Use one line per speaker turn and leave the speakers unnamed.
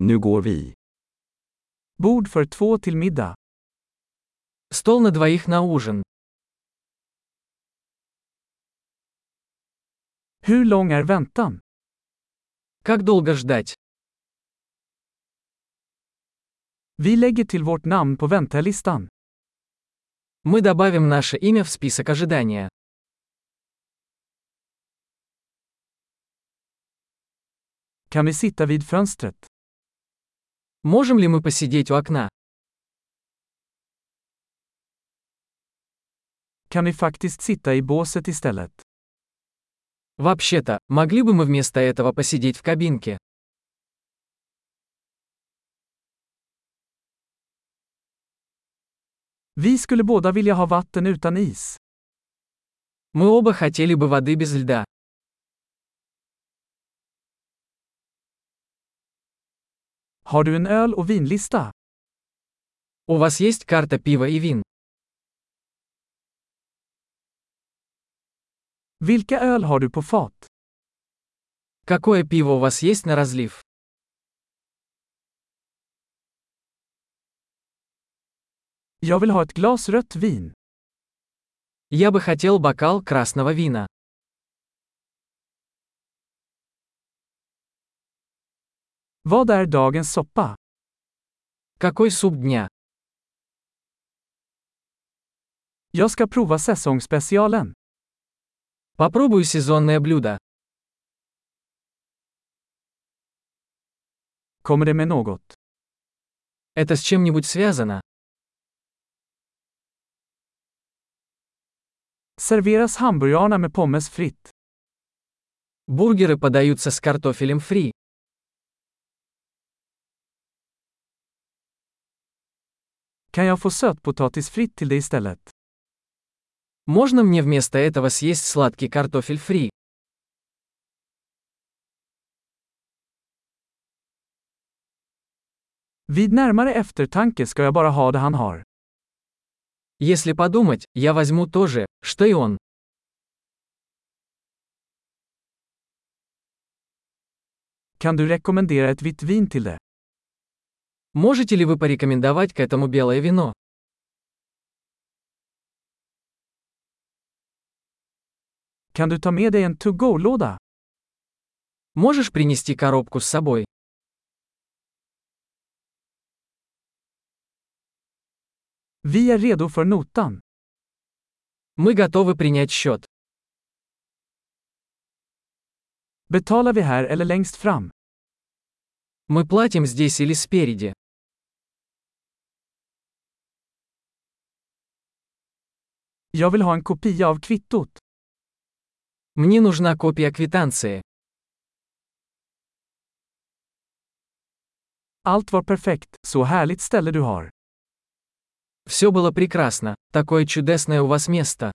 Nu går vi.
Bord för två till middag. Стол на двоих на ужин. Hur lång är väntan? Как долго ждать? Vi lägger till vårt namn på väntelistan. Мы добавим наше имя в список ожидания. Kan vi sitta vid fönstret? Можем ли мы посидеть у окна? Kan vi faktiskt sitta i båset istället? Вообще-то, могли бы мы вместо этого посидеть в кабинке? Vi skulle båda vilja ha vatten utan is. Мы оба хотели бы воды без льда. Har du en öl och vinlista? У вас есть карта пива и вин? Vilka öl har du på fat? Какое пиво у вас есть на разлив? Jag vill ha ett glas rött vin. Я бы хотел бокал красного вина. Vad är dagens soppa? Какой суп дня? Jag ska prova säsongsspecialen. Попробую сезонное блюдо. Kommer det med något? Это с чем-нибудь связано? Serveras hamburgarna med pommes fritt? Бургеры подаются с картофелем фри. Kan jag få sötpotatis fritt till det istället? Можно мне вместо этого съесть сладкий картофель фри? Vid närmare eftertanke ska jag bara ha det han har. Если подумать, я возьму то же, что и он. Kan du rekommendera ett vitt vin till det? Можете ли вы порекомендовать к этому белое вино? Kan du ta med dig en to-go-låda? Можешь принести коробку с собой? Vi är redo för notan. Мы готовы принять счет. Betalar vi här eller längst fram? Мы платим здесь или спереди. Jag vill ha en kopia av kvittot. Мне нужна копия квитанции. Allt var perfekt, så härligt ställe du har. Все было прекрасно, такое чудесное у вас место.